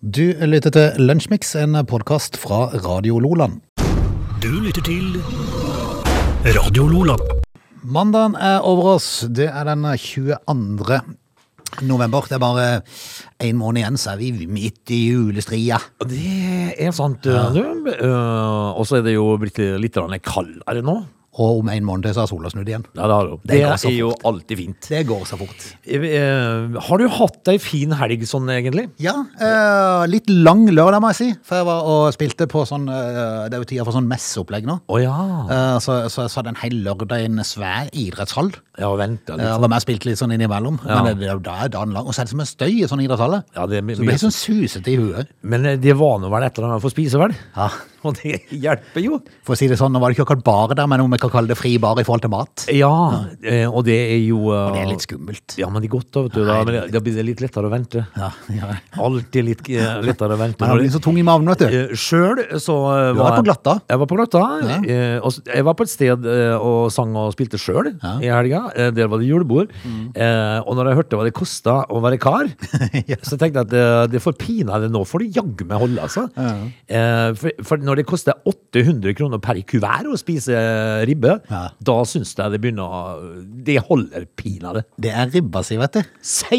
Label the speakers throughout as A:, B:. A: Du lytter til Lunsjmix, en podkast fra Radio Loland.
B: Du lytter til Radio Lola.
A: Mandagen er over oss. Det er den 22. november. Det er bare én måned igjen, så er vi midt i julestria.
C: Det er sant, du. Eh, Og så er det jo blitt litt grann kaldere nå.
A: Og om en måned til så har sola snudd igjen.
C: Ja, det har du.
A: Det
C: Det
A: går så
C: er jo alltid fint.
A: Det går så fort.
C: Eh, eh, Har du hatt ei fin helg sånn, egentlig?
A: Ja, eh, litt lang lørdag, må jeg si. For jeg var og spilte på sånn eh, Det er jo tida for sånn messeopplegg nå.
C: Å ja.
A: Eh, så, så jeg satt en hel lørdag i en svær idrettshall.
C: Ja, vent da
A: Jeg
C: litt.
A: var med og spilte litt sånn innimellom.
C: Ja.
A: Men det, det, da er dagen lang. Og så er det som en støy i sånn idrettshalle.
C: Ja, det er my-
A: så det blir
C: mye.
A: sånn susete i huet.
C: Men eh, det var nå vel etter at de får spise, vel?
A: Ja.
C: Og det hjelper jo.
A: For å si det sånn, nå var det ikke akkurat bare der, men om vi kan kalle det fri bar i forhold til mat.
C: Ja, eh, og det er jo eh,
A: Det er litt skummelt.
C: Ja, men det er godt, da, vet du. Da,
A: Nei,
C: men da blir det litt lettere å vente.
A: Ja, ja.
C: Alltid litt eh, lettere å vente.
A: Men han blir så tung i magen, vet du.
C: Eh, Sjøl så eh,
A: Du var på glatta.
C: Jeg var på glatta.
A: Ja.
C: eh, og s- Jeg var på et sted eh, og sang og spilte sjøl
A: Ja. Mm.
C: i helga. Eh, Der var det julebord. Eh, Og når jeg hørte hva det kosta å være kar,
A: Ja.
C: så tenkte jeg at eh, det får pinadø nå får du jaggu meg holde, altså. Eh, For, for når det koster 800 kroner per kuvert å spise eh, ribbe,
A: Ja.
C: da syns jeg det begynner å Det holder pinadø.
A: Det er ribba si, vet du.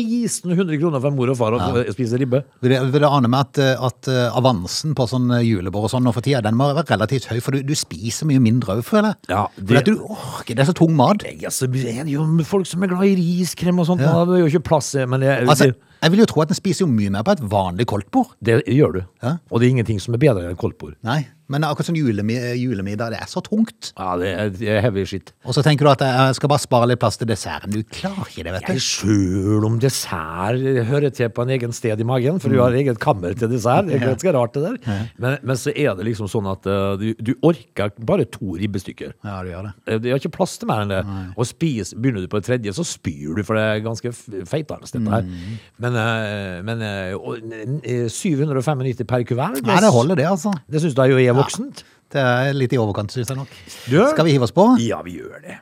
C: 1600 kroner for mor og far å få spise ribbe.
A: Vil det- vil det ane meg at, eh, at eh, avansen på sånn eh, julebord og sånn nå for tida, den må være relativt høy, for du, du spiser mye mindre òg, føler jeg.
C: Ja,
A: For
C: det-
A: at du orker, det er så tung mat.
C: Ja, så er altså, det jo folk som er glad i riskrem og sånt. Da er det jo ikke plass, eh, men det,
A: Altså, jeg vil jo tro at den spiser jo mye mer på et vanlig koldtbord.
C: det, det gjør du.
A: Ja.
C: Og det er ingenting som er bedre enn et koldtbord.
A: Nei, men akkurat sånn julemi julemiddag, det er så tungt.
C: Ja, det er, det er heavy shit.
A: Og så tenker du at jeg skal bare spare litt plass til desserten. Du klarer ikke det, vet du.
C: Sjøl om dessert hører til på en egen sted i magen, for du har eget kammer til dessert. Det er ganske rart, det der. Men, men så er det liksom sånn at eh, du, du orker bare to ribbestykker.
A: Ja, du gjør det.
C: Eh, Det er ikke plass til mer enn det. Og spis, begynner du på et tredje, så spyr du, for det er ganske f- feitarens, dette her.
A: Mm.
C: Men, eh, men eh, og, eh, 795 per kuvert,
A: Nei, det holder det, altså.
C: Det syns da jo jeg er voksent.
A: Det er litt i overkant, syns jeg nok.
C: Du-
A: Skal vi hive oss på?
C: Ja, vi gjør det.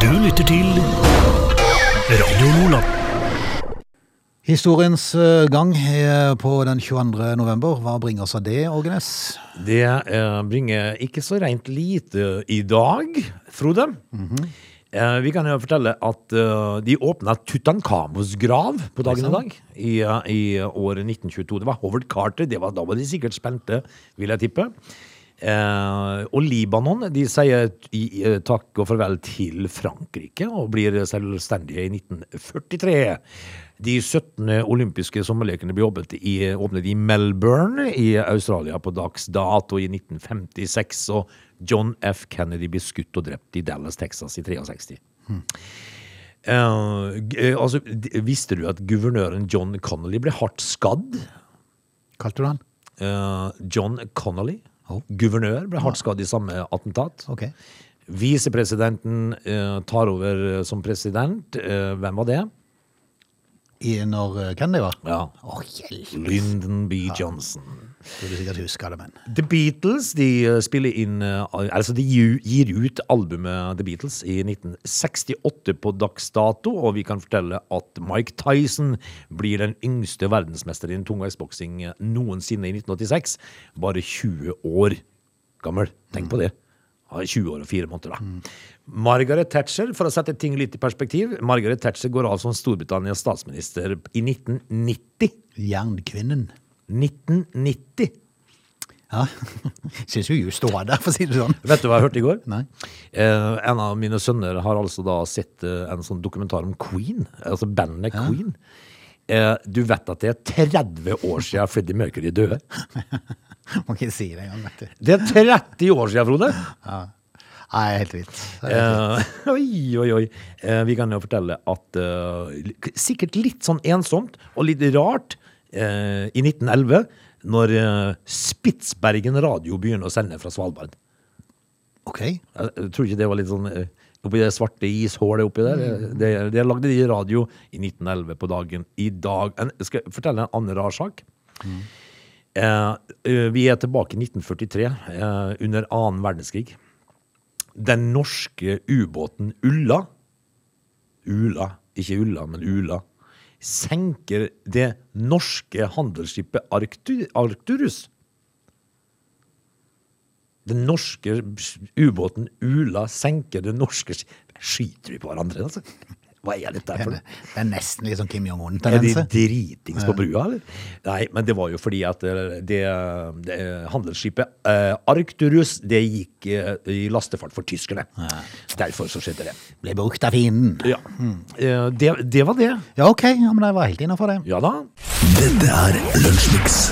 B: Du lytter til Radio Lola.
A: Historiens eh, gang eh, på den 22. november. Hva bringer oss av det, Ågenes?
C: Det eh, bringer ikke så rent lite i dag, Frode.
A: Mhm.
C: eh, vi kan jo fortelle at eh, de åpna Tutankhamus grav på dagen i dag, i, eh, i året 1922. Det var Howard Carter, det var, da var de sikkert spente, vil jeg tippe. Eh, og Libanon de sier i, eh, takk og farvel til Frankrike og blir selvstendige i 1943. De 17 olympiske sommerlekene ble åpnet i, åpnet i Melbourne i Australia på dags dato i 1956, og John F. Kennedy ble skutt og drept i Dallas, Texas i 63. Eh, g- eh, altså, d- visste du at guvernøren John Connolly ble hardt skadd?
A: Kalte du han?
C: Eh, John Connolly,
A: Oh.
C: guvernør, ble hardt skadd i samme attentat.
A: Ok.
C: Visepresidenten eh, tar over eh, som president. Eh, hvem var det?
A: I, når eh, Kennedy var?
C: Ja.
A: Å, hjelp!
C: Lyndon B. Johnson.
A: Burde sikkert huske det, men.
C: The Beatles de eh, spiller inn eh, al- Altså, de gir gir ut albumet The Beatles i 1968 på dags dato, og vi kan fortelle at Mike Tyson blir den yngste verdensmesteren innen tungvektsboksing eh, noensinne i 1986. Bare 20 år gammel. Tenk på det. Ja, 20 år og 4 måneder, da. Margaret Thatcher, for å sette ting litt i perspektiv Margaret Thatcher går av som Storbritannias statsminister i 1990.
A: Jernkvinnen.
C: 1990!
A: Ja. Syns jo just hun var der, for å si det sånn.
C: Vet du hva jeg hørte i går?
A: Nei.
C: Eh, en av mine sønner har altså da sett eh, en sånn dokumentar om Queen, altså bandet Queen. Eh, du vet at det er 30 år siden Freddie Mercury døde.
A: Må ikke si det engang, vet du.
C: Det er 30 år siden, Frode!
A: Nei, helt vilt.
C: Eh, oi, oi, oi. Eh, vi kan jo fortelle at eh, li- sikkert litt sånn ensomt og litt rart eh, i 1911, når eh, Spitsbergen radio begynner å sende fra Svalbard.
A: Ok.
C: Jeg, jeg tror ikke det var litt sånn eh, Oppi det svarte ishålet oppi der. Det, det lagde de i radio i 1911 på dagen i dag. En, jeg skal fortelle en annen rar sak. Eh, eh, vi er tilbake i 1943, eh, under annen verdenskrig. Den norske ubåten Ulla Ula, ikke Ulla, men Ula, senker det norske handelsskipet Arktu- Arcturus. Den norske ubåten Ula senker det norske skip- Skyter vi på hverandre, altså? Hva er dette her for noe?
A: Det er nesten litt sånn Kim
C: Er de
A: Jong-un-tendense.
C: dritings på brua, eller? Nei, men det var jo fordi at eh, det, det handelsskipet eh, Arcturus, det gikk eh, i lastefart for tyskerne. Derfor så skjedde det.
A: Ble brukt av fienden.
C: Ja. Eh, det. Det var det.
A: Ja, ok, ja, men jeg var helt innafor det.
C: Ja da.
B: Dette er Lunsjmix.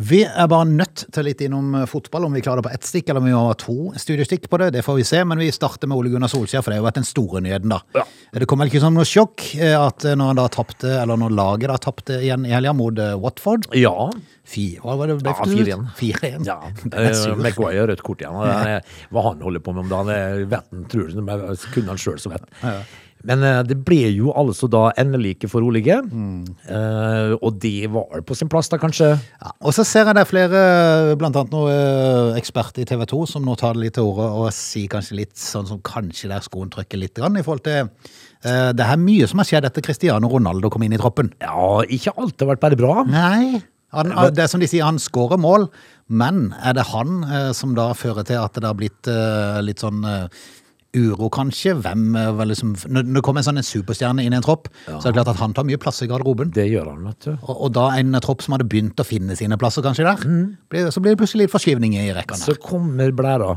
A: Vi er bare nødt til litt innom eh, fotball, om vi klarer det på ett stikk eller om vi må ha to studiostikk på det. Det får vi se, men vi starter med Ole Gunnar Solskjær, for det har jo vært den store nyheten, da.
C: Ja.
A: Det kom vel ikke som noe sjokk eh, at eh, når han da tapte, eller når laget da tapte igjen i helga mot eh, Watford
C: Ja.
A: Fi, hva var det det
C: Ja,
A: for noe?
C: 4-1.
A: 4-1.
C: ja.
A: Den er
C: Eh,
A: sur.
C: McGuire rødt kort igjen. og det er- Hva han holder på med om dagen, det vet han, tror du, men kunne han sjøl så vet. Men eh, det ble jo altså da endelike for Ole G. Eh, og det var på sin plass, da kanskje?
A: Ja, og så ser jeg det er flere, blant annet noen eh, eksperter i TV 2, som nå tar det litt til orde og sier kanskje litt sånn som kanskje der skoen trykker litt grann, i forhold til eh, Det er mye som har skjedd etter Cristiano Ronaldo kom inn i troppen.
C: Ja, ikke alt har vært bare bra.
A: Nei. Han, det er som de sier, han skårer mål, men er det han eh, som da fører til at det har blitt eh, litt sånn eh, uro, kanskje? Hvem eh, var liksom Når når det kommer en sånn en superstjerne inn i en tropp, så er det klart at han tar mye plass i garderoben.
C: Det gjør han, vet du.
A: Og, og da en tropp som hadde begynt å finne sine plasser, kanskje der, blir, så blir det plutselig litt forskyvning i rekkene.
C: Mm. Så kommer blæra.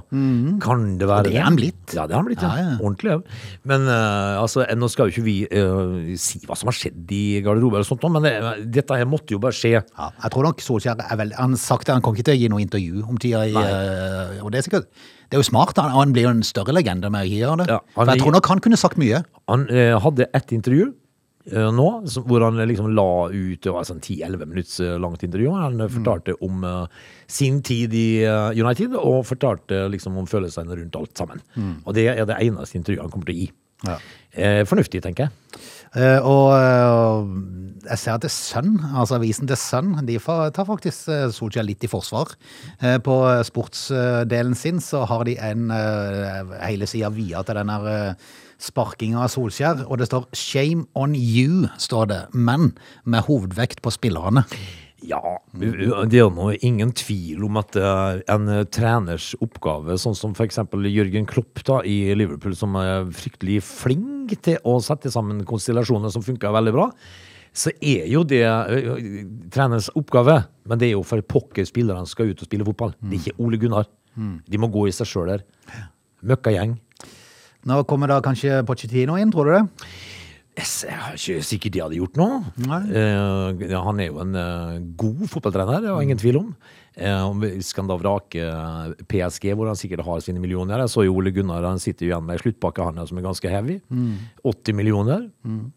C: Kan det
A: Og Mhm.
C: være
A: det er han blitt.
C: Ja, det er han blitt. Ja.
A: Ja, ja.
C: Ordentlig. Ja. Men eh, altså, eh, nå skal jo ikke vi eh, si hva som har skjedd i garderoben eller sånt, nå, men det, dette her måtte jo bare skje.
A: Ja, jeg tror nok Solskjær er veldig Han sagt det, han kom ikke til å gi noe intervju om tida i eh, Og det er sikkert Det er jo smart, han, han blir jo en større legende med å gjøre det.
C: Ja, han
A: For jeg
C: er-
A: tror nok han kunne sagt mye.
C: Han eh, hadde et intervju eh, nå, som, hvor han eh, liksom la ut det var sånn 10-11 minutts eh, langt intervju. Han eh, fortalte om eh, sin tid i eh, United, og fortalte liksom om følelsene rundt alt sammen. Og det er det eneste intervjuet han kommer til å gi.
A: Mm. Ja.
C: Eh, fornuftig, tenker jeg.
A: Eh, og eh, jeg ser at det er Sønn, altså avisen til Sønn, de fa- tar faktisk eh, Solskjær litt i forsvar. Eh, på sportsdelen sin så har de en eh, hele sida via til den her eh, sparkinga av Solskjær, og det står 'Shame on you', står det, men med hovedvekt på spillerne.
C: Ja, det er nå ingen tvil om at eh, en eh, treners oppgave, sånn som f.eks. Jørgen Klopp da, i Liverpool, som er fryktelig flink til å sette sammen konstellasjoner som funker veldig bra, så er jo det eh, trenerens oppgave. Men det er jo for pokker spillerne skal ut og spille fotball. Det er ikke Ole Gunnar. De må gå i seg sjøl der. Møkkagjeng.
A: Nå kommer da kanskje Pochettino inn, tror du det?
C: Yes, Jeg er ikke sikker de hadde gjort noe.
A: Nei.
C: Eh, ja, han er jo en eh, god fotballtrener, det er ingen tvil om. Eh, om vi skal da vrake eh, PSG, hvor han sikkert har sine millioner. Jeg så jo Ole Gunnar, han sitter jo igjen med en sluttpakke han er, som er ganske heavy. 80 millioner.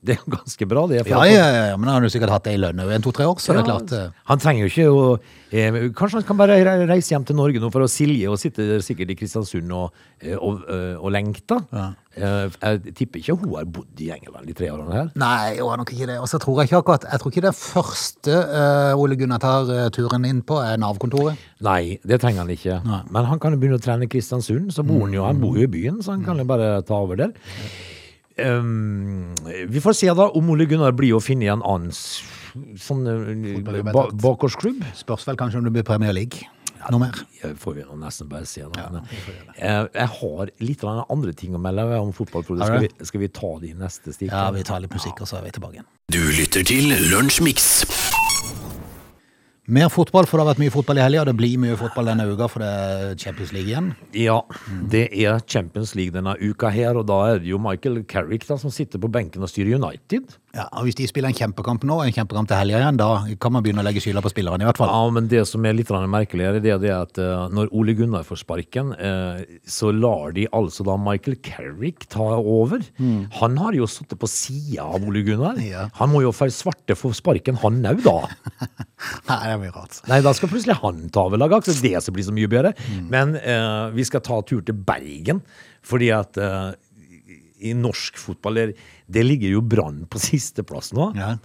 C: Det er jo ganske bra. Det er
A: Mm. Ja,
C: for at-
A: ja, ja, men han har jo sikkert hatt det i lønn over en to-tre år, så det er klart. eh,
C: Han trenger jo ikke å eh, Kanskje han kan bare re- reise hjem til Norge nå for å silje, og sitter sikkert i Kristiansund og, eh, og, eh, og lengter. Eh, jeg tipper ikke hun har bodd i England de tre årene her.
A: Nei, jo, nok ikke det. Og så tror jeg ikke akkurat Jeg tror ikke den første eh, Ole Gunnar tar eh, turen inn på, er Nav-kontoret.
C: Nei, det trenger han ikke. Men han kan jo begynne å trene i Kristiansund, så bor han jo
A: Mm.
C: han bor jo i byen, så han kan jo bare ta over der. Um, vi får se da om Ole Gunnar blir å finne i en annen s- sånn eh,
A: Fotballklubb,
C: ba
A: jeg vet.
C: bakgårdsklubb.
A: Spørs vel kanskje om det blir Premier League. Noe mer.
C: Ja, det får vi nå nesten bare se. Da. Men, eh, jeg har litt grann andre ting å melde om fotball. Frode.
A: Har
C: Skal,
A: du?
C: vi- skal vi ta det i neste stikk?
A: Ja, vi tar litt musikk, og så er vi tilbake igjen.
B: Du lytter til Lunsjmix.
A: Mer fotball, for det har vært mye fotball i helga. og Det blir mye fotball denne uka, for det er Champions League igjen.
C: Ja,
A: Mm.
C: det er Champions League denne uka her, og da er det jo Michael Carrick da, som sitter på benken og styrer United.
A: Ja, og Hvis de spiller en kjempekamp nå, og en kjempekamp til helga igjen, da kan man begynne å legge skylda på spillerne, i hvert fall.
C: Ja, men det som er litt grann merkeligere, det er det at eh, når Ole Gunnar får sparken, eh, så lar de altså da Michael Carrick ta over. Han har jo sittet på sida av Ole Gunnar.
A: Hmm. Ja.
C: Han må jo for svarte få sparken, han òg, da.
A: Nei, det er mye rart.
C: Nei, da skal plutselig han ta over laget. Så det som blir så mye bedre.
A: Mm.
C: Men eh, vi skal ta tur til Bergen, fordi at eh, i norsk fotball er- Det ligger jo Brann på sisteplass nå.
A: Ja.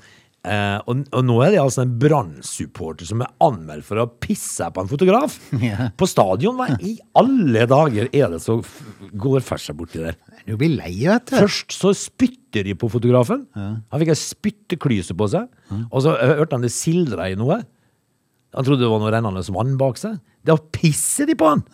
C: Eh, og, og nå er det altså en brannsupporter som er anmeldt for å pisse på en fotograf
A: Ja.
C: på stadion. Hva i alle dager er det som f- går for seg borti der?
A: Du blir lei, vet du.
C: Først så spytter de på fotografen. Han fikk en spytteklyse på seg. Og så eh, hørte han det sildra i noe. Han trodde det var noe rennende som vann bak seg. Da pisser de på han!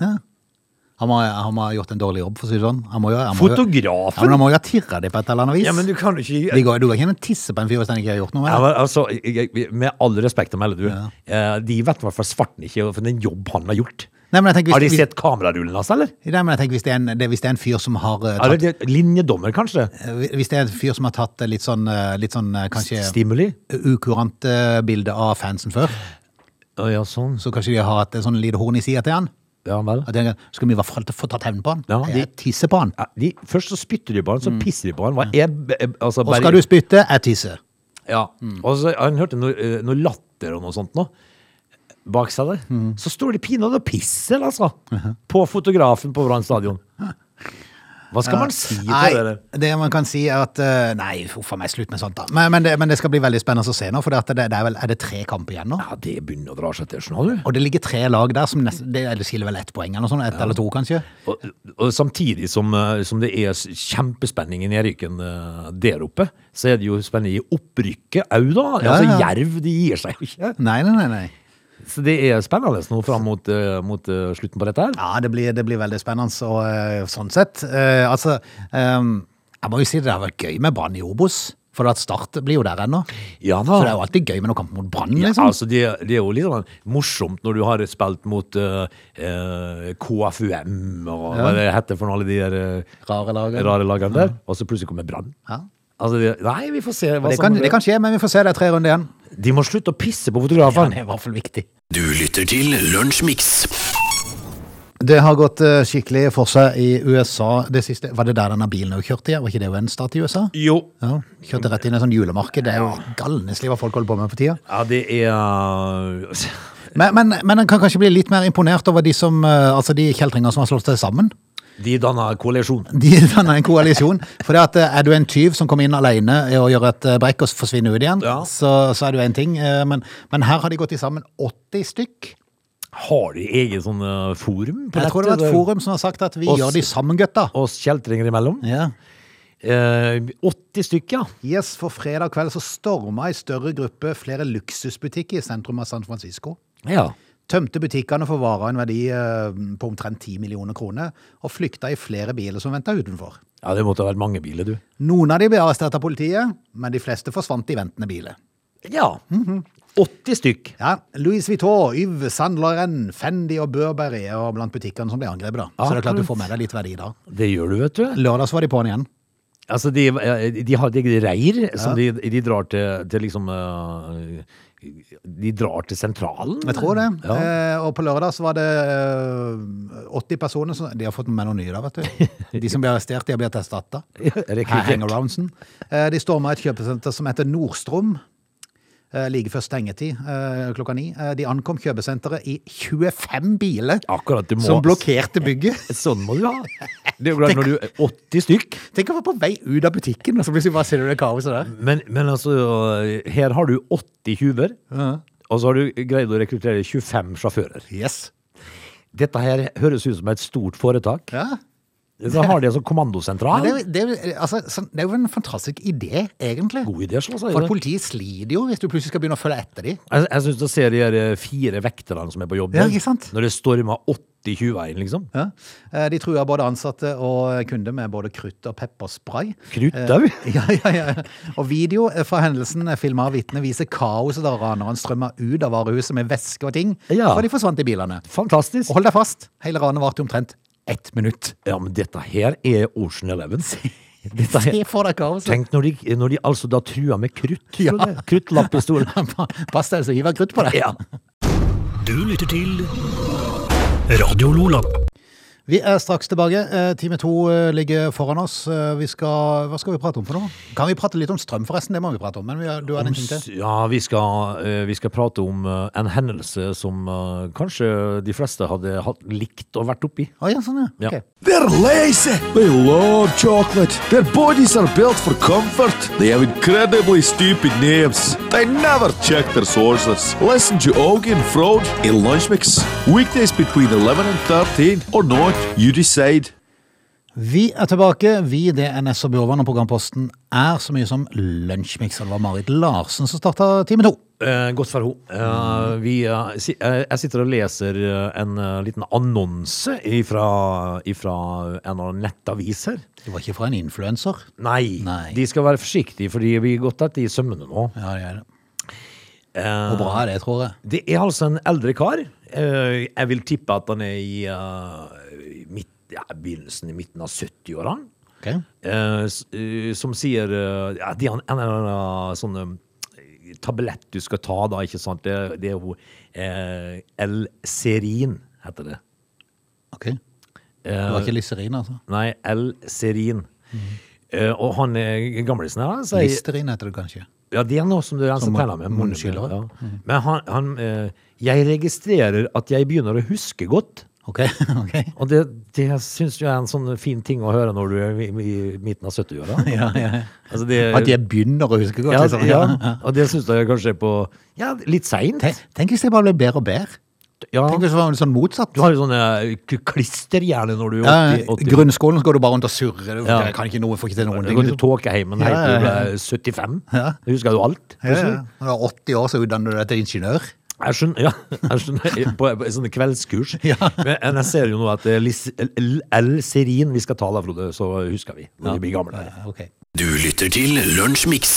A: Han må, han må ha gjort en dårlig jobb, for å si det sånn. Han må jo, han må jo, ja,
C: Fotografen!
A: men han må jo ha tirra det på et eller annet vis.
C: Ja, men du kan jo
A: De
C: ikke
A: går, du kan ikke tisse på en fyr hvis han ikke har gjort noe med
C: ja,
A: det.
C: men, altså, jeg, jeg- Med all respekt å melde, du. eh, De vet i hvert fall svarten ikke for den jobb han har gjort.
A: Nei, men jeg tenker,
C: Har de
A: hvis,
C: sett kamerarullen hans, eller?
A: hvis, nei, men jeg tenker, hvis, det er en, det, hvis det er en fyr som har eh,
C: eller
A: tatt,
C: de- linjedommer, kanskje?
A: eh, Hvis det er en fyr som har tatt eh, litt sånn, eh, litt sånn eh, kanskje
C: Stimuli?
A: ukurant eh, bilde av fansen før,
C: Å, Ja, sånn.
A: så kanskje de har hatt en sånn lite horn i sida til han.
C: Ja vel.
A: At de, skal vi i hvert fall få tatt hevn på han?
C: Ja, de-
A: Jeg tisser på han.
C: Ja, De, først så spytter de på han, så pisser de på han. Hva er, er- altså,
A: Og
C: bare-
A: skal du spytte, jeg tisser.
C: Ja.
A: Mm.
C: Og så han hørte noe, eh, noe latter og noe sånt nå. Bak seg der.
A: Mm.
C: Så står de pinadø og pisser, altså.
A: Uh-huh.
C: På fotografen på Brann stadion. Hva skal man si til
A: Nei,
C: det der?
A: det man kan si er at eh, Nei, uff a meg, slutt med sånt, da. Men, men, det, men det skal bli veldig spennende å se nå, for det, at det, det er, vel, er det tre kamper igjen nå?
C: Ja, det begynner å dra seg til, skjønner du.
A: Og det ligger tre lag der som nesten Det eller skiller vel ett poeng eller noe sånt? Ett eller to, kanskje?
C: Og, og samtidig som, eh, som det er s- kjempespenning i nedrykken eh, der oppe, så er det jo spenning i opprykket au da.
A: Ja,
C: Altså,
A: ja.
C: Jerv de gir seg jo ikke.
A: Nei, nei, nei. nei.
C: Så det er spennende nå fram mot, eh, mot eh, slutten på dette her.
A: Ja, det blir, det blir veldig spennende og, eh, sånn sett. Eh, altså, eh, jeg må jo si det har vært gøy med Brann i Obos. For at Start blir jo der ennå.
C: Ja da.
A: Så det er jo alltid gøy med noen kamp mot Brann,
C: Ja,
A: liksom.
C: altså det, det er jo litt sånn morsomt når du har spilt mot eh, eh, KFUM og hva det heter for noe, alle de der, eh,
A: Rare laget.
C: rare lagene der, og så plutselig kommer Brann.
A: Ja.
C: Altså det, nei, vi får se. Hva
A: Det
C: som-
A: kan, det kan skje, men vi får se. Det er tre runder igjen.
C: De må slutte å pisse på
A: Ja,
C: fotografen.
A: det er i hvert fall viktig.
B: Du lytter til Lunsjmix.
A: Det har gått eh, skikkelig for seg i USA det siste. Var det der denne bilen òg kjørte? Ja? Var ikke det jo en stat i USA?
C: Jo.
A: Ja, Kjørte rett inn i et sånt julemarked. Det er jo galneslig hva folk holder på med for tida.
C: Ja, det er eh,
A: Men, men, men en kan kanskje bli litt mer imponert over de som, eh, altså de kjeltringer som har slått seg sammen.
C: De danner koalisjon.
A: De danner en koalisjon. For det at eh, er du en tyv som kommer inn alene og gjør et eh, brekk og forsvinner ut igjen,
C: Ja.
A: så, så er du en ting. Eh, Men, men her har de gått i sammen 80 stykk.
C: Har de eget sånn eh, forum? på
A: Jeg tror det var
C: nettet,
A: et
C: der?
A: forum som har sagt at vi
C: Oss-
A: gjør de sammen, gutta.
C: Oss kjeltringer imellom.
A: Ja.
C: Eh, 80 stykker, ja.
A: Yes, for fredag kveld så storma ei større gruppe flere luksusbutikker i sentrum av San Francisco.
C: ja.
A: Tømte butikkene for varer av en verdi eh, på omtrent 10 millioner kroner, og flykta i flere biler som venta utenfor.
C: Ja, det måtte ha vært mange biler, du.
A: Noen av de ble arrestert av politiet, men de fleste forsvant i ventende biler.
C: Ja. 80 stykk.
A: Ja, Louis Vuitton, Yves Saint Laurent, Fendi og Burberry er blant butikkene som ble angrepet. da. Så det er klart du får med deg litt verdi da.
C: Det gjør du, vet du.
A: Lørdag så var de på'n igjen.
C: Altså, de, eh, de har de reir som de, de drar til, til liksom eh, De drar til sentralen.
A: Jeg tror det.
C: Ja.
A: Eh, og på lørdag så var det eh, 80 personer som De har fått med noen nye, da, vet du. De som ble arrestert, de har blitt erstatta.
C: Rekruttert.
A: Hangaroundsen. Eh, de storma et kjøpesenter som heter Nordstrom. Eh, like før stengetid eh, klokka ni. Eh, de ankom kjøpesenteret i 25 biler
C: Akkurat. Du må
A: som blokkerte bygget.
C: Sånn må du ha. Det er jo klart når du er 80 stykk.
A: Tenk å være på vei ut av butikken, og så plutselig bare ser du det kaoset der.
C: Men, men altså, her har du 80 tjuver. Og så har du greid å rekruttere 25 sjåfører.
A: Yes.
C: Dette her høres ut som et stort foretak.
A: Ja.
C: Så har de en sånn kommandosentral.
A: Men det, er jo- det, er jo- altså, sånn- det er jo en fantastisk idé, egentlig.
C: God idé, slå seg i
A: For at
C: det.
A: politiet sliter jo hvis du plutselig skal begynne å følge etter dem.
C: Jeg, jeg syns du ser de her eh, fire vekterne som er på jobb,
A: Ja,
C: der,
A: ikke sant?
C: når det stormer 80 tjuver inn, liksom.
A: Ja. Eh, De truer både ansatte og kunder med både krutt og pepperspray.
C: Krutt au!
A: Ja, ja, ja. Og video fra hendelsen filma av vitnet viser kaoset da raneren strømma ut av varehuset med væske og ting,
C: Ja.
A: og de forsvant i bilene. Og
C: Fantastisk.
A: hold deg fast, hele ranet varte omtrent ett minutt.
C: Ja, men dette her er Ocean Eleven. Dette her.
A: Se for deg kaoset!
C: Tenk når de, når de altså da truer med krutt.
A: Ja.
C: tror du det? Kruttlappistol.
A: Pass deg så hiver jeg krutt på deg.
C: Ja.
B: Du lytter til Radio Lola.
A: Vi er straks tilbake. Eh, Time to eh, ligger foran oss. Eh, Vi skal, hva skal vi prate om for noe? Kan vi prate litt om strøm, forresten? Det må vi prate om. Men vi, har- du hadde en ting til.
C: Ja, vi skal, eh, vi skal prate om eh, en hendelse som eh, kanskje de fleste hadde hatt likt og vært oppi.
A: Å ja, sånn, ja.
C: Ja.
A: Ok.
D: They're lazy. They love chocolate. Their bodies are built for comfort. They have incredibly stupid names. They never check their sources. Listen to Augie and Frode in Lunch Mix. Weekdays between 11 and 13 or not, you decide.
A: Vi er tilbake. Vi, det er Ness og Bjørvann, og programposten er så mye som Lunsjmix. Det var Marit Larsen som starta time to.
C: Eh, godt for henne.
A: Mm.
C: Eh, vi, eh, si, eh, jeg sitter og leser eh, en eh, liten annonse ifra, ifra en av nettaviser.
A: Det var ikke fra en influenser.
C: Nei,
A: Nei.
C: de skal være forsiktige, fordi vi har gått etter i sømmene nå.
A: Ja, det er det.
C: Eh,
A: Og bra er det, tror jeg.
C: Det er altså en eldre kar. Eh, Jeg vil tippe at han er i eh, midt, ja, begynnelsen, i midten av 70-årene.
A: Ok.
C: Eh, s- eh, Som sier eh, ja, det er en, en, en, en sånn eh, tablett du skal ta, da, ikke sant? Det, det er jo eh, L-serin, heter det.
A: Ok. Det var ikke Listerin, altså.
C: Nei, L-serin. Eh, og han eh, gamlisen her, han sier
A: Listerin heter det kanskje.
C: Ja, det er noe som du renser
A: Som Mm, mun-
C: tenner med. munnen med,
A: munnskyller.
C: ja. Men han, han eh, Jeg registrerer at jeg begynner å huske godt.
A: Ok, ok.
C: Og det, det syns jeg er en sånn fin ting å høre når du er i, i midten av 70-åra.
A: Ja, ja. ja.
C: Altså det-
A: At jeg begynner å huske godt.
C: ja,
A: liksom.
C: ja, og det syns jeg kanskje er på Ja, litt seint.
A: Tenk, tenk hvis jeg bare ble bedre og bedre.
C: Ja.
A: Tenk hvis det var sånn motsatt.
C: Du har jo sånn eh, k- klisterhjerne når du er
A: Ja,
C: 80. 80.
A: grunnskolen så går du bare rundt og surrer. Du
C: Ja.
A: kan ikke noe, får ikke til noen
C: Du
A: ting.
C: går til
A: liksom.
C: tåkeheimen helt til du ble 75.
A: Ja.
C: Du husker jo alt.
A: Ja, ja. Når du er 80 år, så utdanner du deg til ingeniør.
C: Jeg skjønner, ja, jeg skjønner på, på sånne kveldskurs.
A: Ja.
C: Men men jeg ser jo nå at det er lis- L- L-serin vi skal ta da, Frode, så husker vi når vi blir gamle.
A: Ja, ok.
B: Du lytter til Lunsjmix.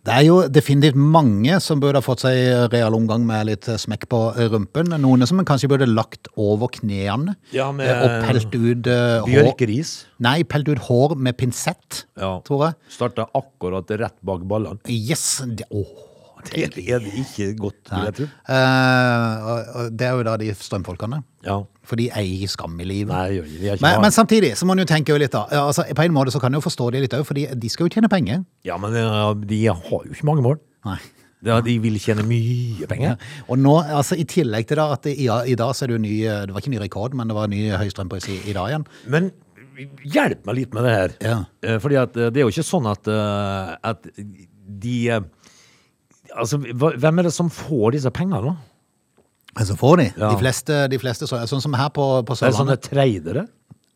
A: Det er jo definitivt mange som burde ha fått seg real omgang med litt smekk på rumpen. Noen som kanskje burde lagt over knærne
C: Ja, med-
A: eh, og pelt ut eh, hår.
C: Bjørkeris
A: Nei, pelt ut hår med pinsett,
C: Ja.
A: tror jeg.
C: starta akkurat rett bak ballene.
A: Yes! Det, åh,
C: Det er det ikke godt, vil jeg tro.
A: Eh, og- og det er jo da de strømfolkene.
C: Ja.
A: For de eier ikke skam i livet.
C: Nei, det gjør ikke det. er ikke
A: Men,
C: bra.
A: men samtidig så må man jo tenke jo litt, da. Ja, Altså, på en måte så kan jeg jo forstå det litt òg, for de skal jo tjene penger.
C: Ja, men eh, de har jo ikke mange mål.
A: Nei.
C: Det er- De vil tjene mye penger.
A: Og nå, altså I tillegg til da at det- ja, i dag så er det jo ny eh, Det var ikke ny rekord, men det var ny høystrømpris i, i dag igjen.
C: Men hjelp meg litt med det her.
A: Ja.
C: Eh, Fordi at eh, det er jo ikke sånn at, eh, at de eh, Altså, hva- hvem er det som får disse pengene, da?
A: Men så får de.
C: Ja.
A: De fleste, de fleste så, Sånn som her på, på
C: Det er sånne
A: Sørlandet.
C: tradere.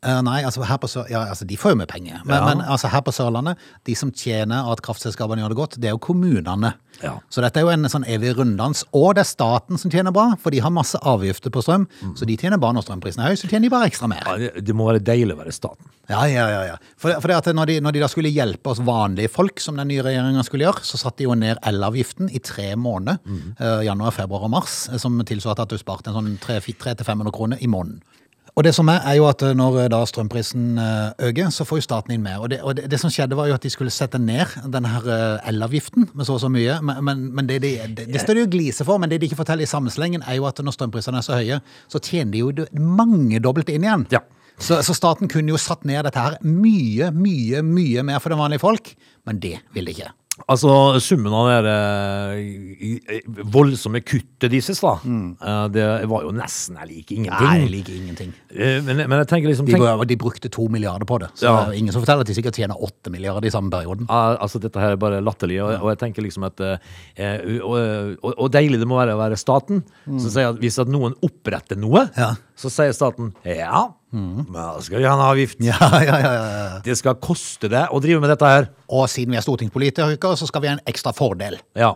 A: Eh, nei, altså her på Sør... Ja, altså de får jo med penger. Men,
C: Ja.
A: men altså her på Sørlandet, de som tjener at kraftselskapene gjør det godt, det er jo kommunene.
C: Ja.
A: Så dette er jo en sånn evig runddans. Og det er staten som tjener bra, for de har masse avgifter på strøm. Så de tjener bare når strømprisen er høy, så tjener de bare ekstra mer.
C: Mm. Ja, det- det må være deilig å være staten.
A: Ja, ja, ja. ja. For, for det at når de, når de da skulle hjelpe oss vanlige folk, som den nye regjeringen skulle gjøre, så satte de jo ned elavgiften i tre måneder, eh, januar, februar og mars, eh, som tilsvarte at du sparte en sånn 300-500 kroner i måneden. Og det som er, er jo at eh, når eh, da strømprisen eh, øker, så får jo staten inn mer. Og det, og det, det som skjedde var jo at de skulle sette ned den her eh, elavgiften med så og så mye, men, men, men det, de, det, det står de jo glise for, men det de ikke forteller i sammenslengen er jo at når strømprisene er så høye, så tjener de jo det mangedobbelt inn igjen.
C: Ja.
A: Så, så staten kunne jo satt ned dette her mye, mye, mye mer for den vanlige folk, men det ville de ikke.
C: Altså, summen av det eh, i- i- voldsomme kuttet deres, da, eh, det var jo nesten jeg liker
A: Nei,
C: ingenting.
A: de liker ingenting.
C: Eh, Men, men jeg tenker liksom
A: De,
C: tenk,
A: bør- de brukte to milliarder på det, så
C: Ja.
A: det er jo ingen som forteller at de sikkert tjener åtte milliarder i samme perioden.
C: Ah, Altså, dette her er bare latterlig, og, og jeg tenker liksom at eh, og, og, og deilig det må være å være staten, som sier at hvis at noen oppretter noe,
A: Ja.
C: så sier staten ja, men da skal vi ha en avgift.
A: Ja, ja, ja, ja. ja.
C: Det skal koste deg å drive med dette her.
A: Og siden vi er stortingspolitikere, så skal vi ha en ekstra fordel.
C: Ja,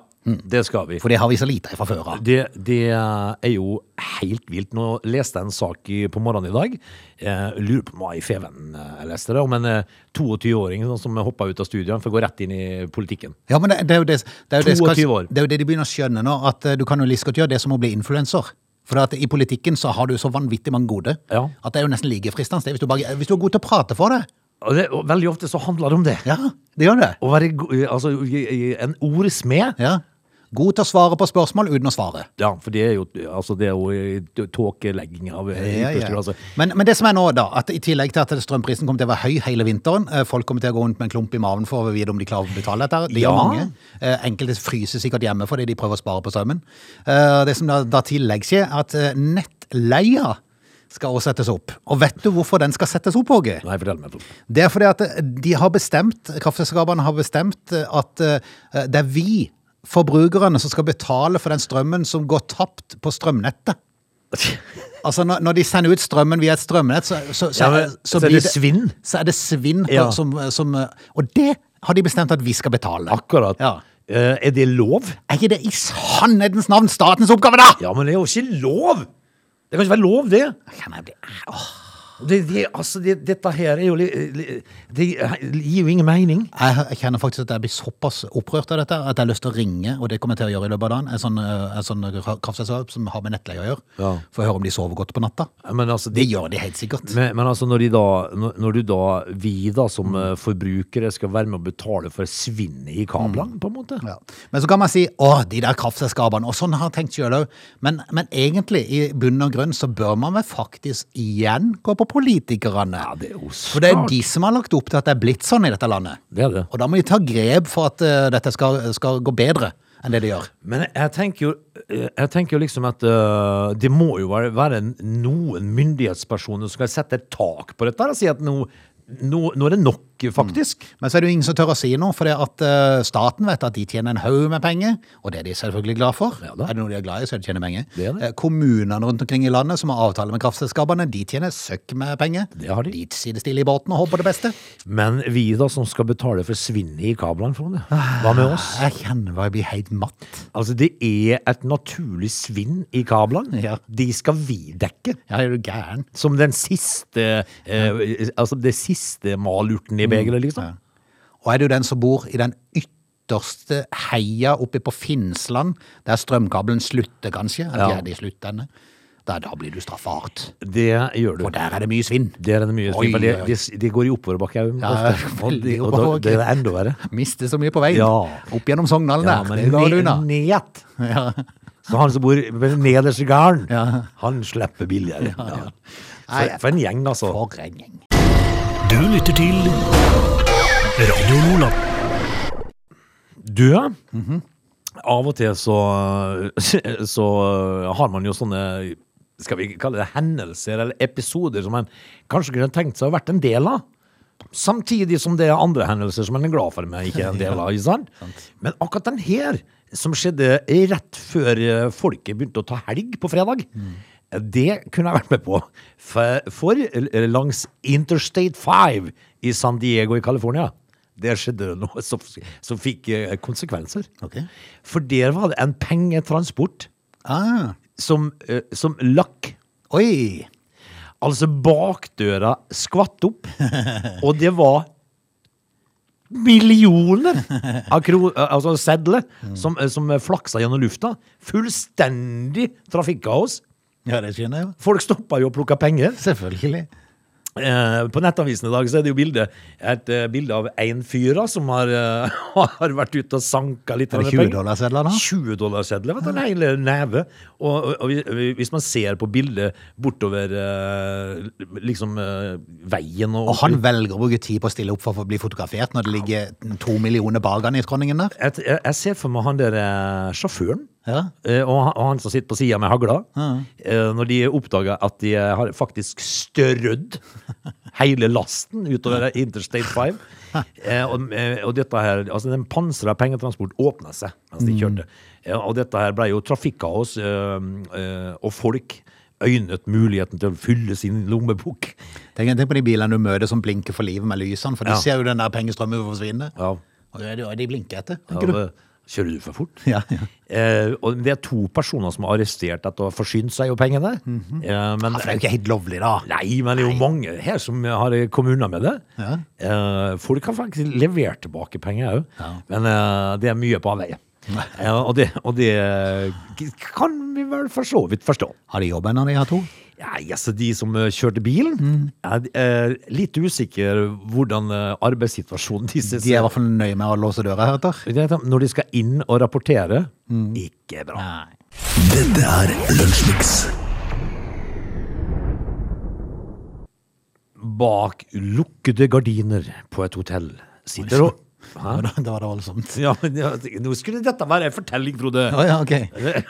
C: det skal vi.
A: For det har vi så lite av fra før av.
C: Det, det er jo helt vilt. Nå leste jeg en sak i, på morgenen i dag. Eh, lurer på meg i feven eh, jeg leste det, om en eh, 22-åring som- som hoppa ut av studiene for å gå rett inn i politikken.
A: Ja, men det, det, er jo det, det, er jo det,
C: 22
A: kanskje-
C: år.
A: det er jo det de begynner å skjønne nå, at eh, du kan jo like godt gjøre det som å bli influenser. For at i politikken så har du så vanvittig mange gode,
C: Ja.
A: at det er jo nesten like fristende. det, Hvis du, bare, hvis du er god til å prate for det,
C: Og, det, og veldig ofte så handler det om det. eh,
A: ja, det gjør det.
C: Å være go- altså, i- i- en ordsmed.
A: Ja. God til å svare på spørsmål uten å svare.
C: Ja, for det er jo, altså, det er jo eh, tåkelegging av eh,
A: Ja, ja.
C: utstyr, altså.
A: Men, men det som er nå, da, at i tillegg til at strømprisen kommer til å være høy hele vinteren, eh, folk kommer til å gå rundt med en klump i maven for å vite om de klarer å betale dette. her. Det gjør
C: Ja.
A: mange. Eh, Enkelte fryser sikkert hjemme fordi de prøver å spare på strømmen. Eh, Det som da, da tillegg skjer, er at eh, nettleia skal også settes opp. Og vet du hvorfor den skal settes opp, Åge?
C: Nei, fortell meg. Frode.
A: Det er fordi at de har bestemt, kraftselskapene har bestemt at eh, det er vi, forbrukerne, som skal betale for den strømmen som går tapt på strømnettet. Altså når, når de sender ut strømmen via et strømnett, så, så, så,
C: Ja, men, så er
A: blir
C: det svinn?
A: Så er det svinn på-
C: Ja.
A: som, som eh, Og det har de bestemt at vi skal betale.
C: Akkurat.
A: Ja.
C: Eh, er det lov?
A: Er ikke det i sannhetens navn statens oppgave, da?!
C: Ja, men det er jo ikke lov! Det kan ikke være lov, det.
A: Kan jeg bli
C: det, det altså, det, dette her er jo li, li, Det gir jo ingen mening.
A: Jeg jeg kjenner faktisk at jeg blir såpass opprørt av dette at jeg har lyst til å ringe, og det kommer jeg til å gjøre i løpet av dagen, en sånn, eh, en sånn kraftselskap som har med nettleie å gjøre,
C: Ja.
A: for å høre om de sover godt på natta.
C: Men altså,
A: Det gjør de helt sikkert.
C: men, men altså, når, de da, når- når du da, vi da som eh, forbrukere skal være med å betale for svinnet i kablene, på en måte
A: Ja. Men så kan man si å, de der kraftselskapene, og sånn har jeg tenkt sjøl òg. Men, men egentlig, i bunn og grunn, så bør man vel faktisk igjen gå på politikerne.
C: Ja, det er jo
A: For det er
C: smart.
A: de som har lagt opp til at det er blitt sånn i dette landet.
C: Det er det.
A: Og da må de ta grep for at eh, dette skal, skal gå bedre enn det det gjør.
C: Men jeg- jeg tenker jo, jeg tenker jo liksom at øh, det må jo være, være en- noen myndighetspersoner som skal sette et tak på dette her og si at nå, nå, nå er det nok, faktisk.
A: Men så er det jo ingen som tør å si noe, for det at eh, staten vet at de tjener en haug med penger, og det er de selvfølgelig glad for.
C: Ja da.
A: er det noe de er glad i, så er det å tjene penger.
C: Det er det.
A: Eh, kommunene rundt omkring i landet som har avtale med kraftselskapene, de tjener søkk med penger.
C: Det har de.
A: De sitter stille i båten og håper det beste.
C: Men vi da som skal betale for svinnet i kablene, Frode, hva med oss?
A: Jeg kjenner hva jeg blir helt matt.
C: Altså, det er et naturlig svinn i kablene.
A: Ja.
C: De skal vi dekke.
A: Ja, er du gæren?
C: Som den siste, eh, altså det siste malurten i
A: Mm.
C: begeret, liksom.
A: Og er du den som bor i den ytterste heia oppe på Finnsland, der strømkabelen slutter kanskje, eller
C: Ja.
A: er det i sluttende, da, da blir du straffa hardt.
C: Det gjør du.
A: Og der er det mye svinn.
C: Det er det mye
A: Oi,
C: svinn, for det,
A: oi, oi.
C: det, det går i oppoverbakke. jeg,
A: Ja,
C: ofte. og,
A: veldig
C: det- og da,
A: oppoverbakke.
C: det er enda verre.
A: Mister så mye på veien.
C: Ja.
A: Opp gjennom Sogndalen der.
C: Ja, men
A: Det går du unna.
C: ne- ned. Så han som bor ved nederste garden, han slipper billigere. Ja. For, for en gjeng, altså.
A: For en gjeng.
B: Du lytter til Radio Nordland.
C: Du, ja. Av og til så, så har man jo sånne skal vi kalle det hendelser eller episoder som man kanskje kunne tenkt seg å ha vært en del av. Samtidig som det er andre hendelser som man er glad for, men ikke er en del av. ikke sant? Men akkurat den her, som skjedde rett før eh, folket begynte å ta helg på fredag, det kunne jeg vært med på. For, for eh, langs Interstate 5 i San Diego i California, der skjedde det noe som, som fikk eh, konsekvenser.
A: Ok.
C: For der var det en pengetransport
A: Ah,
C: som, eh, som lakk
A: oi!
C: Altså, bakdøra skvatt opp, og det var millioner av kro, altså sedler
A: Mm.
C: som, eh, som flaksa gjennom lufta. Fullstendig trafikkaos.
A: Ja, det skjønner jeg jo.
C: Folk stoppa jo og plukka penger.
A: Selvfølgelig.
C: Eh, på nettavisen i dag så er det jo bilde, et eh, bilde av én fyr da, som har, eh, har vært ute og sanka litt.
A: Er det
C: av penger.
A: 20 dollarsedler da?
C: 20 dollarsedler, vet du, en hel neve. Og, og, og hvis- hvis man ser på bildet bortover eh, liksom eh, veien og,
A: Og han velger å bruke tid på å stille opp for å bli fotografert når det ligger to millioner bak han i skråningen der.
C: jeg, jeg jeg ser for meg han der eh, sjåføren.
A: Ja.
C: eh, Og han, og han som sitter på sida med hagla. eh, Når de oppdager at de eh, har faktisk strødd hele lasten utover Interstate 5. Eh, Og, eh, og dette her, altså den pansra pengetransport åpna seg mens
A: Mm.
C: de kjørte. Eh, Og dette her ble jo trafikkaos, eh, eh, og folk øynet muligheten til å fylle sin lommebok.
A: Tenk, tenk på de bilene du møter som blinker for livet med lysene, for de
C: Ja.
A: ser jo den der pengestrømmen forsvinne.
C: Ja,
A: Og det er det- og de blinker etter.
C: ja,
A: tenker du?
C: det- eh, Kjører du for fort?
A: Ja, ja.
C: Eh, og det er to personer som er arrestert etter å ha forsynt seg av pengene. eh, men,
A: Mhm. For det er jo ikke helt lovlig, da.
C: Nei, men det er jo mange her som har kommuner med det. Eh, folk har faktisk levert tilbake penger òg. Men eh, det er mye på avveie. Ja, og, det, og det eh, kan vi vel for så vidt forstå.
A: Har de jobb ennå, de her to?
C: Ja, altså De som eh, kjørte bilen,
A: Mhm.
C: jeg er eh, litt usikker hvordan eh, arbeidssituasjonen disse
A: De er i hvert fall nøye med å låse døra, heter
C: Det er Når de skal inn og rapportere, ikke bra.
A: Mhm. Nei.
B: Dette er Lunsjmix.
C: Bak lukkede gardiner på et hotell sitter og Hæ?
A: Ja, da- Da var det voldsomt.
C: Ja, men ja, nå skulle dette være en fortelling, Frode.
A: Å ja, ok.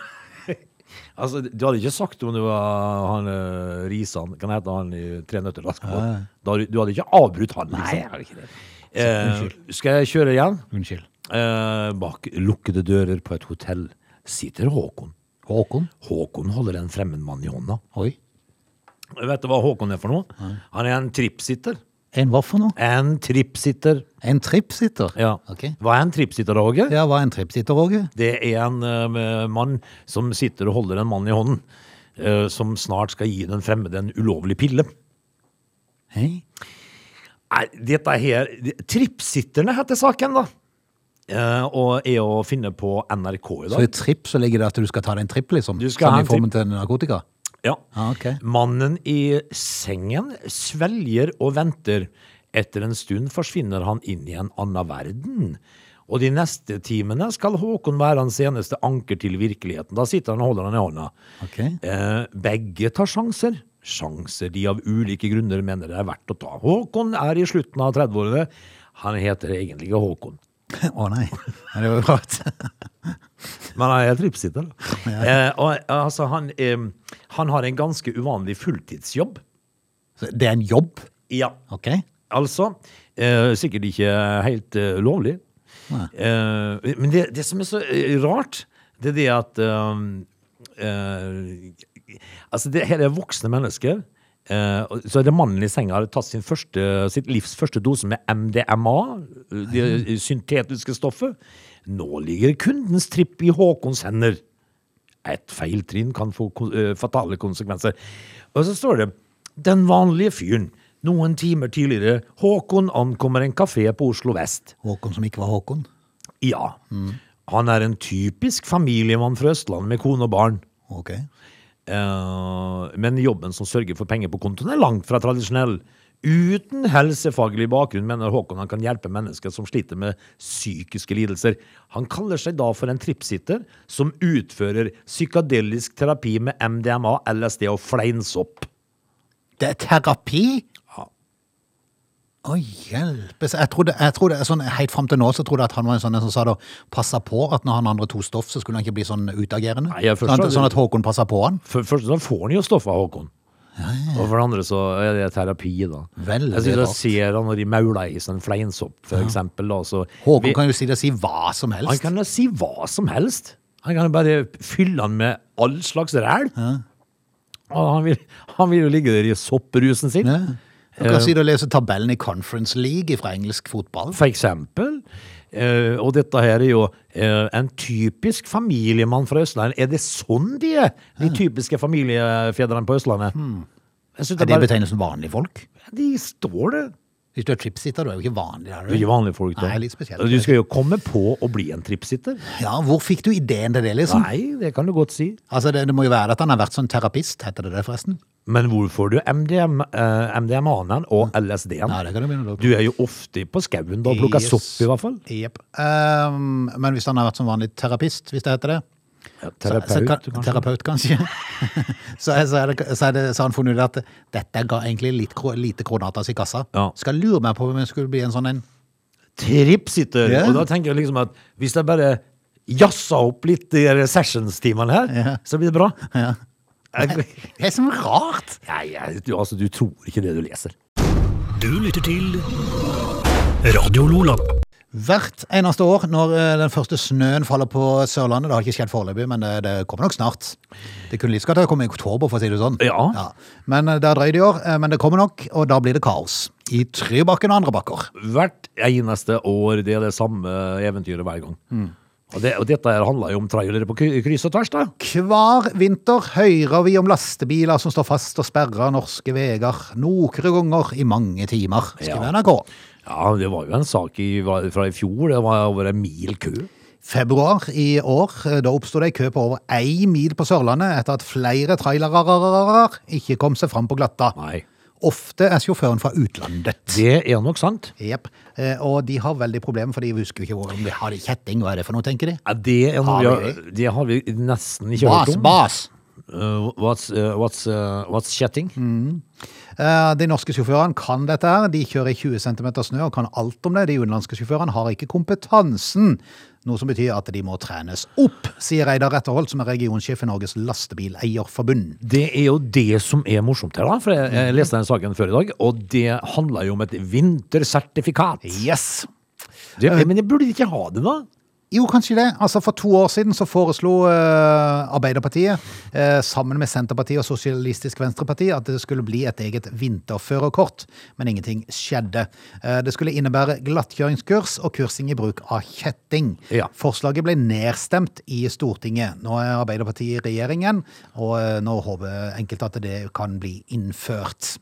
C: Altså, du hadde ikke sagt om det var han eh, Risan Kan jeg hete han i Tre nøtter til Askepott? Da hadde- Du hadde ikke avbrutt han, liksom.
A: Nei, jeg hadde ikke det.
C: Eh, skal jeg kjøre igjen?
A: Unnskyld.
C: Eh, bak lukkede dører på et hotell sitter Håkon.
A: Håkon?
C: Håkon holder en fremmed mann i hånda.
A: Oi.
C: Vet du hva Håkon er for noe? Han er en trippsitter.
A: En hva for noe?
C: En trippsitter.
A: En trippsitter?
C: Ja.
A: Ok.
C: Hva er en trippsitter, Åge?
A: Ja, hva er en trippsitter, Åge?
C: Det er en eh, mann som sitter og holder en mann i hånden, eh, som snart skal gi den fremmede en ulovlig pille.
A: Hei.
C: Nei, dette her Trippsitterne heter saken, da. Eh, og er å finne på NRK
A: Så
C: i dag.
A: i tripp så ligger det at du skal ta deg en tripp, liksom?
C: Du skal
A: Sånn
C: ha en
A: i formen til narkotika?
C: Ja.
A: Ah, ok.
C: Mannen i sengen svelger og venter. Etter en stund forsvinner han inn i en annen verden. Og de neste timene skal Håkon være hans eneste anker til virkeligheten. Da sitter han og holder han i hånda.
A: Ok.
C: Eh, begge tar sjanser. Sjanser de av ulike grunner mener det er verdt å ta. Håkon er i slutten av 30-årene. Han heter egentlig ikke Håkon.
A: Å nei. Ja, det var jo rart.
C: Men han er helt ripsitter. da. Eh, og, altså, han, em, han har en ganske uvanlig fulltidsjobb.
A: Så Det er en jobb?
C: Ja.
A: Ok.
C: Altså, eh, sikkert ikke helt eh, lovlig. Eh, men det, det som er så eh, rart, det er det at eh, eh, Altså, det her er voksne mennesker. eh, og så er det mannen i senga har tatt sin første, sitt livs første dose med MDMA, eh, det syntetiske stoffet. Nå ligger kundens tripp i Håkons hender. Et feiltrinn kan få kon- eh, fatale konsekvenser. Og så står det Den vanlige fyren. Noen timer tidligere. Håkon ankommer en kafé på Oslo vest.
A: Håkon som ikke var Håkon?
C: Ja. Han er en typisk familiemann fra Østlandet med kone og barn.
A: Ok.
C: Eh, men jobben som sørger for penger på kontoen, er langt fra tradisjonell. Uten helsefaglig bakgrunn mener Håkon han kan hjelpe mennesker som sliter med psykiske lidelser. Han kaller seg da for en trippsitter som utfører psykadelisk terapi med MDMA, LSD og fleinsopp.
A: Det er terapi?
C: Ja.
A: Å, hjelpes. Jeg trodde, jeg trodde sånn, Helt fram til nå så trodde jeg at han var en sånn en som sa da, passa på at når han andre to stoff, så skulle han ikke bli sånn utagerende.
C: Nei, jeg
A: sånn, at,
C: forstår det.
A: sånn at Håkon passa på han.
C: For først så får han jo stoff av Håkon. Og for det andre så er det terapi, da.
A: Veldig
C: jeg synes jeg
A: rart.
C: ser han når de mauler i seg en fleinsopp, for eksempel. Da, så
A: Håkon
C: vi-
A: kan jo si det si hva som helst.
C: Han kan jo si hva som helst. Han kan jo bare fylle han med all slags ræl. Og han vil, han vil jo ligge der i sopprusen sin.
A: Ja. Du
C: Eh,
A: kan si du leser tabellen i Conference League fra engelsk fotball.
C: For eksempel. Eh, og dette her er jo eh, en typisk familiemann fra Østlandet. Er det sånn de er, de typiske familiefedrene på Østlandet? Jeg
A: Hmm.
C: synes
A: Er
C: det
A: det
C: er bare,
A: betegnelsen vanlige folk?
C: de står det.
A: Hvis du er tripsitter, du er jo ikke vanlig. Er
C: Du er
A: du?
C: ikke vanlige folk, da.
A: Nei, litt spesielt.
C: Du skal jo komme på å bli en trippsitter.
A: Ja, hvor fikk du ideen til det, liksom?
C: Nei, det kan du godt si.
A: Altså, det, det må jo være at han har vært sånn terapist, heter det det forresten?
C: Men hvor får du MDM, eh, MDMA-en og LSD-en?
A: Hm. Ja, det kan du begynne å lure på.
C: Du er jo ofte på skauen da og plukker
A: Yes.
C: sopp, i hvert fall.
A: Jep. Ehm, men hvis han har vært som vanlig terapist, hvis det heter det? så-
C: terapeut,
A: så kan-
C: kanskje.
A: terapeut, kanskje. så, er, så, er det, så, er det, så har han funnet ut at dette ga egentlig litt, kro- lite kronatas i kassa.
C: Ja.
A: Skal lure meg på om jeg skulle bli en sånn en
C: Tripsitter!
A: Ja.
C: Og da tenker jeg liksom at hvis jeg bare jazza opp litt de her sessions-timene her,
A: Ja.
C: så blir det bra.
A: Ja.
C: Jeg,
A: Det er så rart!
C: nei, jeg, du, altså, du tror ikke det du leser.
B: Du lytter til Radio Lola.
A: Hvert eneste år når eh, den første snøen faller på Sørlandet, det har ikke skjedd foreløpig, men det, det kommer nok snart. Det kunne litt godt ha kommet i oktober, for å si det sånn.
C: Ja.
A: Men eh, det er drøyt i år, eh, men det kommer nok, og da blir det kaos. I Trybakken og andre bakker.
C: Hvert eneste år det er det samme eventyret hver gang.
A: Mm.
C: Og, det, og dette her handler jo om trailere på kry- kryss og tvers, da.
A: Hver vinter hører vi om lastebiler som står fast og sperrer norske veier noen ganger i mange timer, skriver
C: Ja.
A: NRK.
C: Ja, det var jo en sak i, fra i fjor. Det var over en mil kø.
A: Februar i år, eh, da oppstod det en kø på over ei mil på Sørlandet etter at flere trailere ikke kom seg fram på glatta.
C: Nei.
A: Ofte er sjåføren fra utlandet.
C: Det er nok sant.
A: Jep. Eh, Og de har veldig problemer, for de husker jo ikke hvor om de har de kjetting, hva er det for noe, tenker de?
C: Ja, det, er noe
A: Har
C: vi
A: vi
C: har, det har vi nesten ikke hørt
A: Bas,
C: om.
A: bas!
C: Uh, what's, uh, what's, uh, what's chatting?
A: Eh, De norske sjåførene kan dette her. De kjører i 20 cm snø og kan alt om det. De utenlandske sjåførene har ikke kompetansen. Noe som betyr at de må trenes opp, sier Reidar Retterholt, som er regionsjef i Norges Lastebileierforbund.
C: Det er jo det som er morsomt her, da. For jeg, jeg leste den saken før i dag, og det handla jo om et vintersertifikat.
A: Yes!
C: Det, men jeg burde de ikke ha det, da?
A: Jo, kanskje det. Altså, For to år siden så foreslo eh, Arbeiderpartiet, eh, sammen med Senterpartiet og Sosialistisk Venstreparti, at det skulle bli et eget vinterførerkort. Men ingenting skjedde. Eh, det skulle innebære glattkjøringskurs og kursing i bruk av kjetting.
C: Ja.
A: Forslaget ble nedstemt i Stortinget. Nå er Arbeiderpartiet i regjeringen, og eh, nå håper enkelte at det kan bli innført.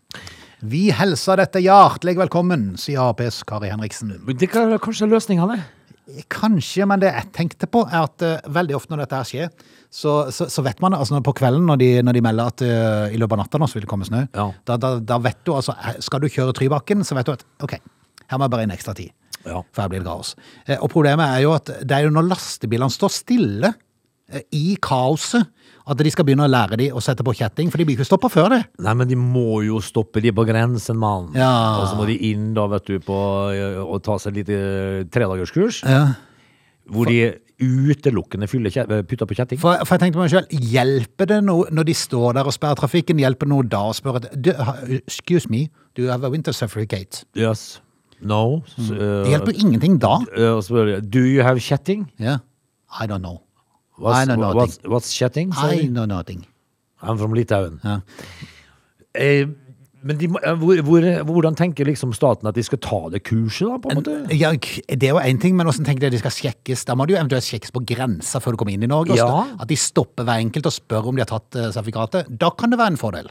A: Vi helser dette hjertelig velkommen, sier Aps Kari Henriksen.
C: Men Det kan være kanskje løsningene?
A: Kanskje, men det jeg tenkte på er at eh, veldig ofte når dette her skjer, så, så, så vet man det. Altså når- på kvelden når de, når de melder at eh, i løpet av natta nå så vil det komme snø,
C: Ja.
A: da, da, da vet du altså eh, Skal du kjøre Trybakken, så vet du at OK, her må jeg bare inn ekstra tid.
C: Ja.
A: For her blir det kaos. Eh, Og problemet er jo at det er jo når lastebilene står stille eh, i kaoset, at de skal begynne å lære de å sette på kjetting, for de blir ikke stoppa før det.
C: Nei, men de må jo stoppe de på grensen, mann.
A: Ja.
C: Og så må de inn da, vet du, på eh, å ta seg et lite eh, tredagerskurs. Hvor de utelukkende fyller kje- eh, putter på kjetting.
A: For, for jeg tenkte på meg selv, hjelper det noe når de står der og sperrer trafikken, hjelper det noe da å spørre at, «Du, ha- excuse me, do you have a winter suffricate?
C: Yes. No. S- eh,
A: Det hjelper ingenting da.
C: eh, og så spør jeg, Do you have chatting?
A: Ja. I don't know.
C: What's,
A: I know nothing.
C: what's, what's chatting? sa
A: I
C: de.
A: know nothing.
C: I'm from Litauen.
A: Ja.
C: Eh, men de, må- eh, hvor, hvor, hvordan tenker liksom staten at de skal ta det kurset, da, på en måte?
A: Ja, k- det er jo en ting, men hvordan tenker de de skal sjekkes? Da må de jo eventuelt sjekkes på grensa før du kommer inn i Norge. og
C: Ja.
A: st- At de stopper hver enkelt og spør om de har tatt eh, sertifikatet. Da kan det være en fordel.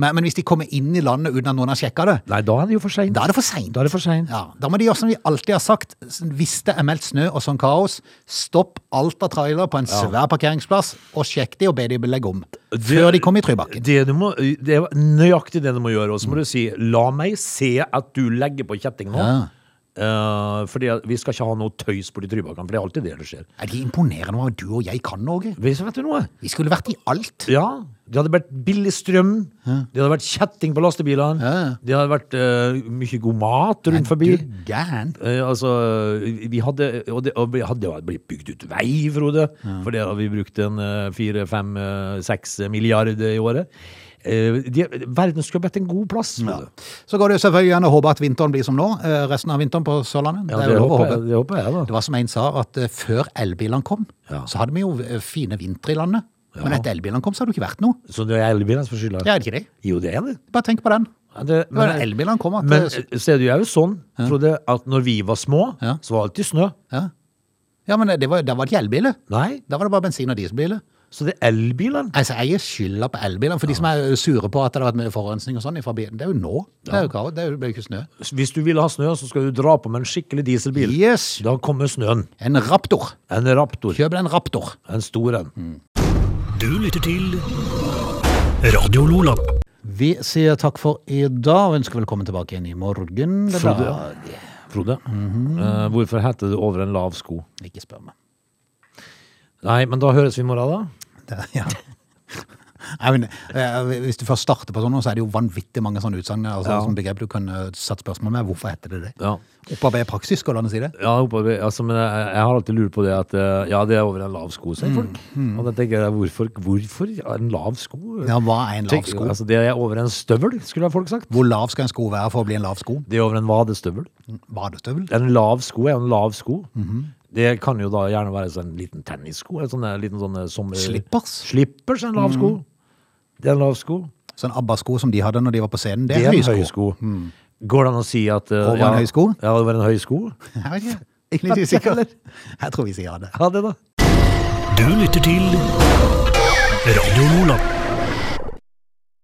A: Men, men hvis de kommer inn i landet uten at noen har sjekket det,
C: Nei, da er det jo for seint.
A: Da er det for seint.
C: Da er det for sent.
A: Ja, da må de gjøre som vi alltid har sagt. Hvis det er meldt snø og sånn kaos, stopp alt av trailere på en svær parkeringsplass, og sjekk de og be de legge om. Før de kommer i Trybakken.
C: Det, du må, det er nøyaktig det du må gjøre. Og så
A: Mm.
C: må du si 'la meg se at du legger på kjetting nå'.
A: Ja.
C: Eh, fordi at vi skal ikke ha noe tøys på de trybakkene, for det er alltid det det skjer.
A: Er de imponerende over hva du og jeg kan, Norge?
C: Hvis, vet du noe?
A: Vi skulle vært i alt.
C: Ja, Det hadde vært billig strøm, det hadde vært kjetting på lastebilene,
A: Ja.
C: det hadde vært eh, mye god mat rundt forbi.
A: Du gæren.
C: Eh, altså, vi hadde, og det og vi hadde jo blitt bygd ut vei, Frode, for det har vi brukt en eh, fire, fem, eh, seks milliarder i året. Eh, de, verden skulle vært en god plass, Frode.
A: Så går det jo selvfølgelig an å håpe at vinteren blir som nå, eh, resten av vinteren på Sørlandet.
C: Ja,
A: det er
C: det,
A: jo lov å
C: håper
A: håpe.
C: jeg, det håper jeg,
A: Det
C: da.
A: var som en sa, at eh, før elbilene kom,
C: Ja.
A: så hadde vi jo eh, fine vintre i landet.
C: Ja.
A: Men etter elbilene kom, så hadde det ikke vært noe.
C: Så det er elbilens for skylda?
A: Det er det ikke det.
C: Jo, det er det.
A: Bare tenk på den.
C: Ja, det
A: Det var da elbilene kom. At,
C: men
A: eh,
C: eh, ser du, jeg er jo sånn, Frode, at når vi var små,
A: Ja.
C: så var det alltid snø.
A: Ja, ja men eh, det var, da var det ikke elbiler.
C: Nei,
A: Da var det bare bensin- og dieselbiler.
C: så det er elbilen.
A: Altså, jeg gir skylda på elbilene, for de som er sure på at det har vært mye forurensning og sånn i bilen, det er jo nå. Det er jo kaos, det er jo- det blir jo ikke snø.
C: Hvis du vil ha snø, så skal du dra på med en skikkelig dieselbil.
A: Yes!
C: Da kommer snøen.
A: En Raptor.
C: En Raptor.
A: Kjøp deg en Raptor.
C: En stor en.
A: Mm.
B: Du lytter til Radio Lola.
A: Vi sier takk for i dag, og ønsker velkommen tilbake igjen i morgen. Det Mhm. blir-
C: Frode, Frode eh, hvorfor heter det over en lav sko?
A: Ikke spør meg.
C: Nei, men da høres vi i morgen, da.
A: Det, ja. Nei, men, eh, hvis du først starter på sånn, så er det jo vanvittig mange sånne utsagn altså,
C: Ja.
A: sånne begrep du kunne satt spørsmål med. Hvorfor heter det det?
C: Ja.
A: Opparbeid praksis, skal du an å si det?
C: Ja, jeg håper vi- altså, men jeg, jeg har alltid lurt på det at eh, Ja, det er over en lav sko,
A: Mm.
C: sier folk. Og da tenker jeg hvorfor, hvorfor en lav sko?
A: Ja, hva er en lav
C: Tenk-
A: sko?
C: Altså, det er over en støvel, skulle folk sagt.
A: Hvor lav skal en sko være for å bli en lav sko?
C: Det er over en vadestøvel.
A: Badestøvel?
C: En lav sko er jo en lav sko. Det kan jo da gjerne være sånn en liten tennissko. En sånn, en liten sånn eh, sommer...
A: Slippers?
C: Slippers Mhm. er en lav sko. Det er en lav sko.
A: Sånn ABBA-sko som de hadde når de var på scenen, det
C: Det
A: er,
C: er en
A: høysko.
C: høy sko. Går det an å si at eh,
A: Over en
C: ja,
A: høy sko?
C: Ja, over en høy sko.
A: Jeg vet ikke. Litt
C: Ikke vet jeg
A: usikker.
C: heller.
A: Jeg tror vi sier ja det.
C: Ja, det da.
B: Du lytter til Radio Lola.